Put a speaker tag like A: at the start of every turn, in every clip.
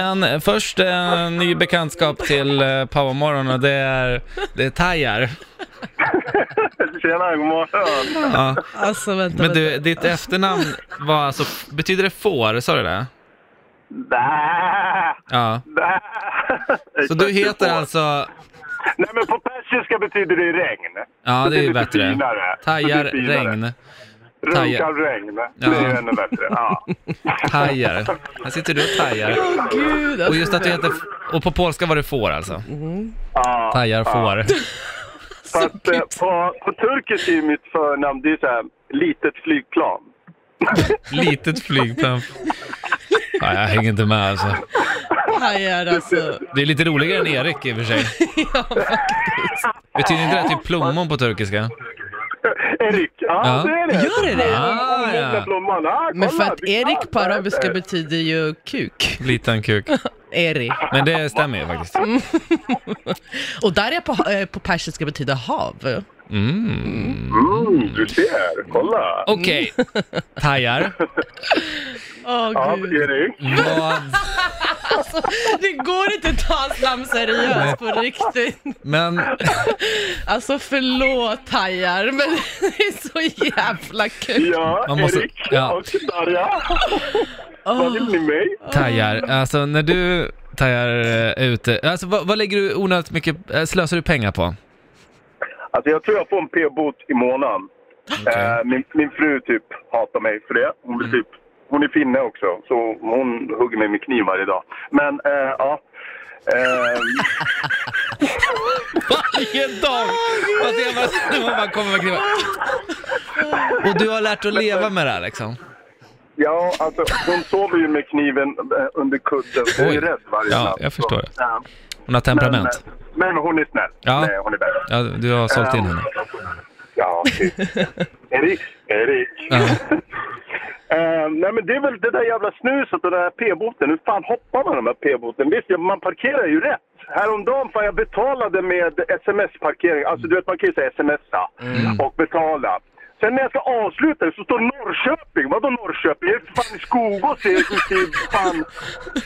A: Men eh, först en ny bekantskap till eh, Powermorgon och det är, det är Tayyar.
B: Tjena, god morgon.
A: Ja.
C: Alltså vänta,
A: Men du,
C: vänta.
A: ditt efternamn var alltså, betyder det får? Sa du det?
B: Bä,
A: Ja.
B: bä.
A: Så du heter alltså,
B: Nej, men på persiska betyder det regn.
A: ja det är ju
B: lite
A: bättre.
B: finare.
A: Tayyar
B: Det är lite finare.
A: Regn. Tayyar.
B: Runkar regn. Det är ju ännu bättre. Ja.
A: Tayyar. Här sitter du och tajar.
C: Åh gud,
A: Och
C: alltså,
A: just att du heter, och på polska var det får alltså.
B: ja.
A: Tajar får.
B: För att, eh, på, på turkiskt är ju mitt förnamn, det är så här, litet flygplan.
A: Litet flygplan. Ja, jag hänger inte med alltså.
C: hajar alltså.
A: Det är lite roligare än Erik i och för sig.
C: Ja, faktiskt.
A: Betyder inte det typ plommon på turkiska?
B: Eh, Erik, ja,
A: Ja.
B: det är det.
C: Gör det det?
A: Ah, ja.
B: Blomman. Ah,
C: Men för
B: kolla,
C: att
B: du kan
C: Erik på
B: det.
C: arabiska betyder ju kuk.
A: Liten kuk.
C: Eri.
A: Men det stämmer ju faktiskt.
C: Mm. Och där är på, eh, på persiska betyder hav.
A: Mm.
B: Mm, du ser, kolla.
A: Okej, Tajar.
C: Åh
B: Ja,
C: gud.
B: Erik.
A: Vad...
C: Det går inte att ta hans namn seriöst på riktigt.
A: Men
C: Alltså förlåt hajar, men det är så jävla kul.
B: Ja,
A: Man måste-
B: Erik
A: ja.
B: och Darja. Vad vill ni mig?
A: Tajar, alltså när du Tajar eh, är ute, alltså vad, vad lägger du onödigt mycket, eh, slösar du pengar på?
B: Alltså jag tror jag får en p-bot i månaden. Eh, min, min fru typ hatar mig för det. Hon,
A: Mm.
B: vill typ, hon är finne också, så hon hugger mig med kniv varje dag. Men eh, ja. Eh,
A: Varje dag! Alltså jag bara, man bara kommer med knivar. Och du har lärt dig att leva med det här liksom?
B: ja, alltså hon sover ju med kniven eh, under kudden. Hon
A: Oj.
B: är rädd varje
A: Ja,
B: natt.
A: jag förstår
B: Så,
A: det.
B: ja.
A: Hon har
B: Men, eh,
A: temperament?
B: men hon är snäll.
A: Ja.
B: Nej, hon är bäst.
A: Ja, du har sålt in henne?
B: Ja, typ. Erik, Erik.
A: Ja.
B: Eh, nej men det är väl det där jävla snuset och den där p-boten. Hur fan hoppar man de här p-boten? Visst, ja, man parkerar ju rätt. Häromdagen fan jag betalade med sms-parkering. Alltså du vet man kan ju säga smsa
C: Mm.
B: och betala. Sen när jag ska avsluta det så står Norrköping. Vadå Norrköping? Jag är fan i Skogås i i- fan.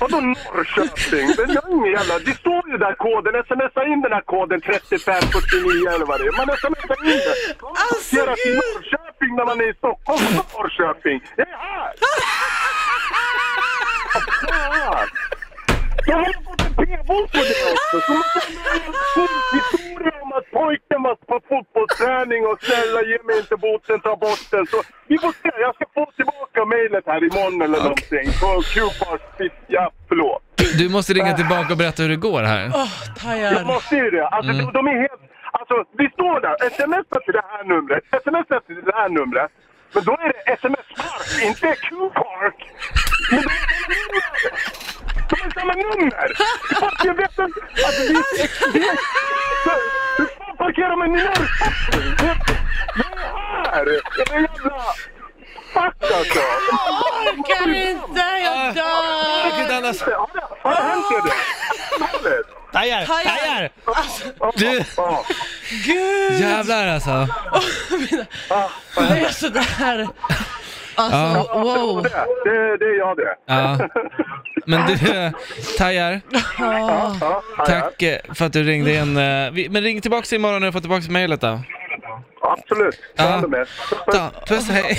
B: Vadå Norrköping? Det, jag har ingen jävla... det står ju där koden. Smsa in den här koden 3549 eller vad det är. Man smsar in den. Man
C: Alltså,
B: parkerar till
C: gud.
B: Norrköping när man är i Stockholm. Norrköping! Jag är här! Fan! Jag har fått en p-bot på det också! Så man kan göra en sjuk historia om att pojken var på fotbollsträning och snälla ge mig inte boten, ta bort den. Så vi får se, jag ska få tillbaka mejlet här imorgon eller någonting. På Q-bars, ja förlåt.
A: Du måste ringa tillbaka och berätta hur det går här. Mm.
C: Åh
B: Jag
C: hajar.
B: måste ju det. Alltså, de, de är helt... Alltså, vi står där. Smsa till det här numret. Smsa till det här numret. Men då är det SMS Park, inte Q-Park. Men de är samma nummer! De är samma nummer! Fast jag vet inte... Alltså, vi... vi hur fan parkerar man i Norrköping? Jag jag är här! Jag är jävla... Fuck alltså!
C: Jag orkar inte, jag
A: Jag kan
C: dör!
A: inte andas.
B: Har det, har det hänt er det?
A: Tajar!
C: Tajar!
A: Tajar!
B: Ja,
A: Du-
B: ja.
C: Gud!
A: Jävlar alltså.
C: Det är sådär. Alltså wow.
B: Det, det, det är jag det.
A: Oh. Ja. Men du, eh, Tajar,
C: Ja.
B: Ja, ja, ja.
A: tack eh, för att du ringde in. eh, vi- Men ring tillbaka imorgon när du får tillbaka mejlet då.
B: Absolut. Ta hand om er.
A: Ta, puss, hej!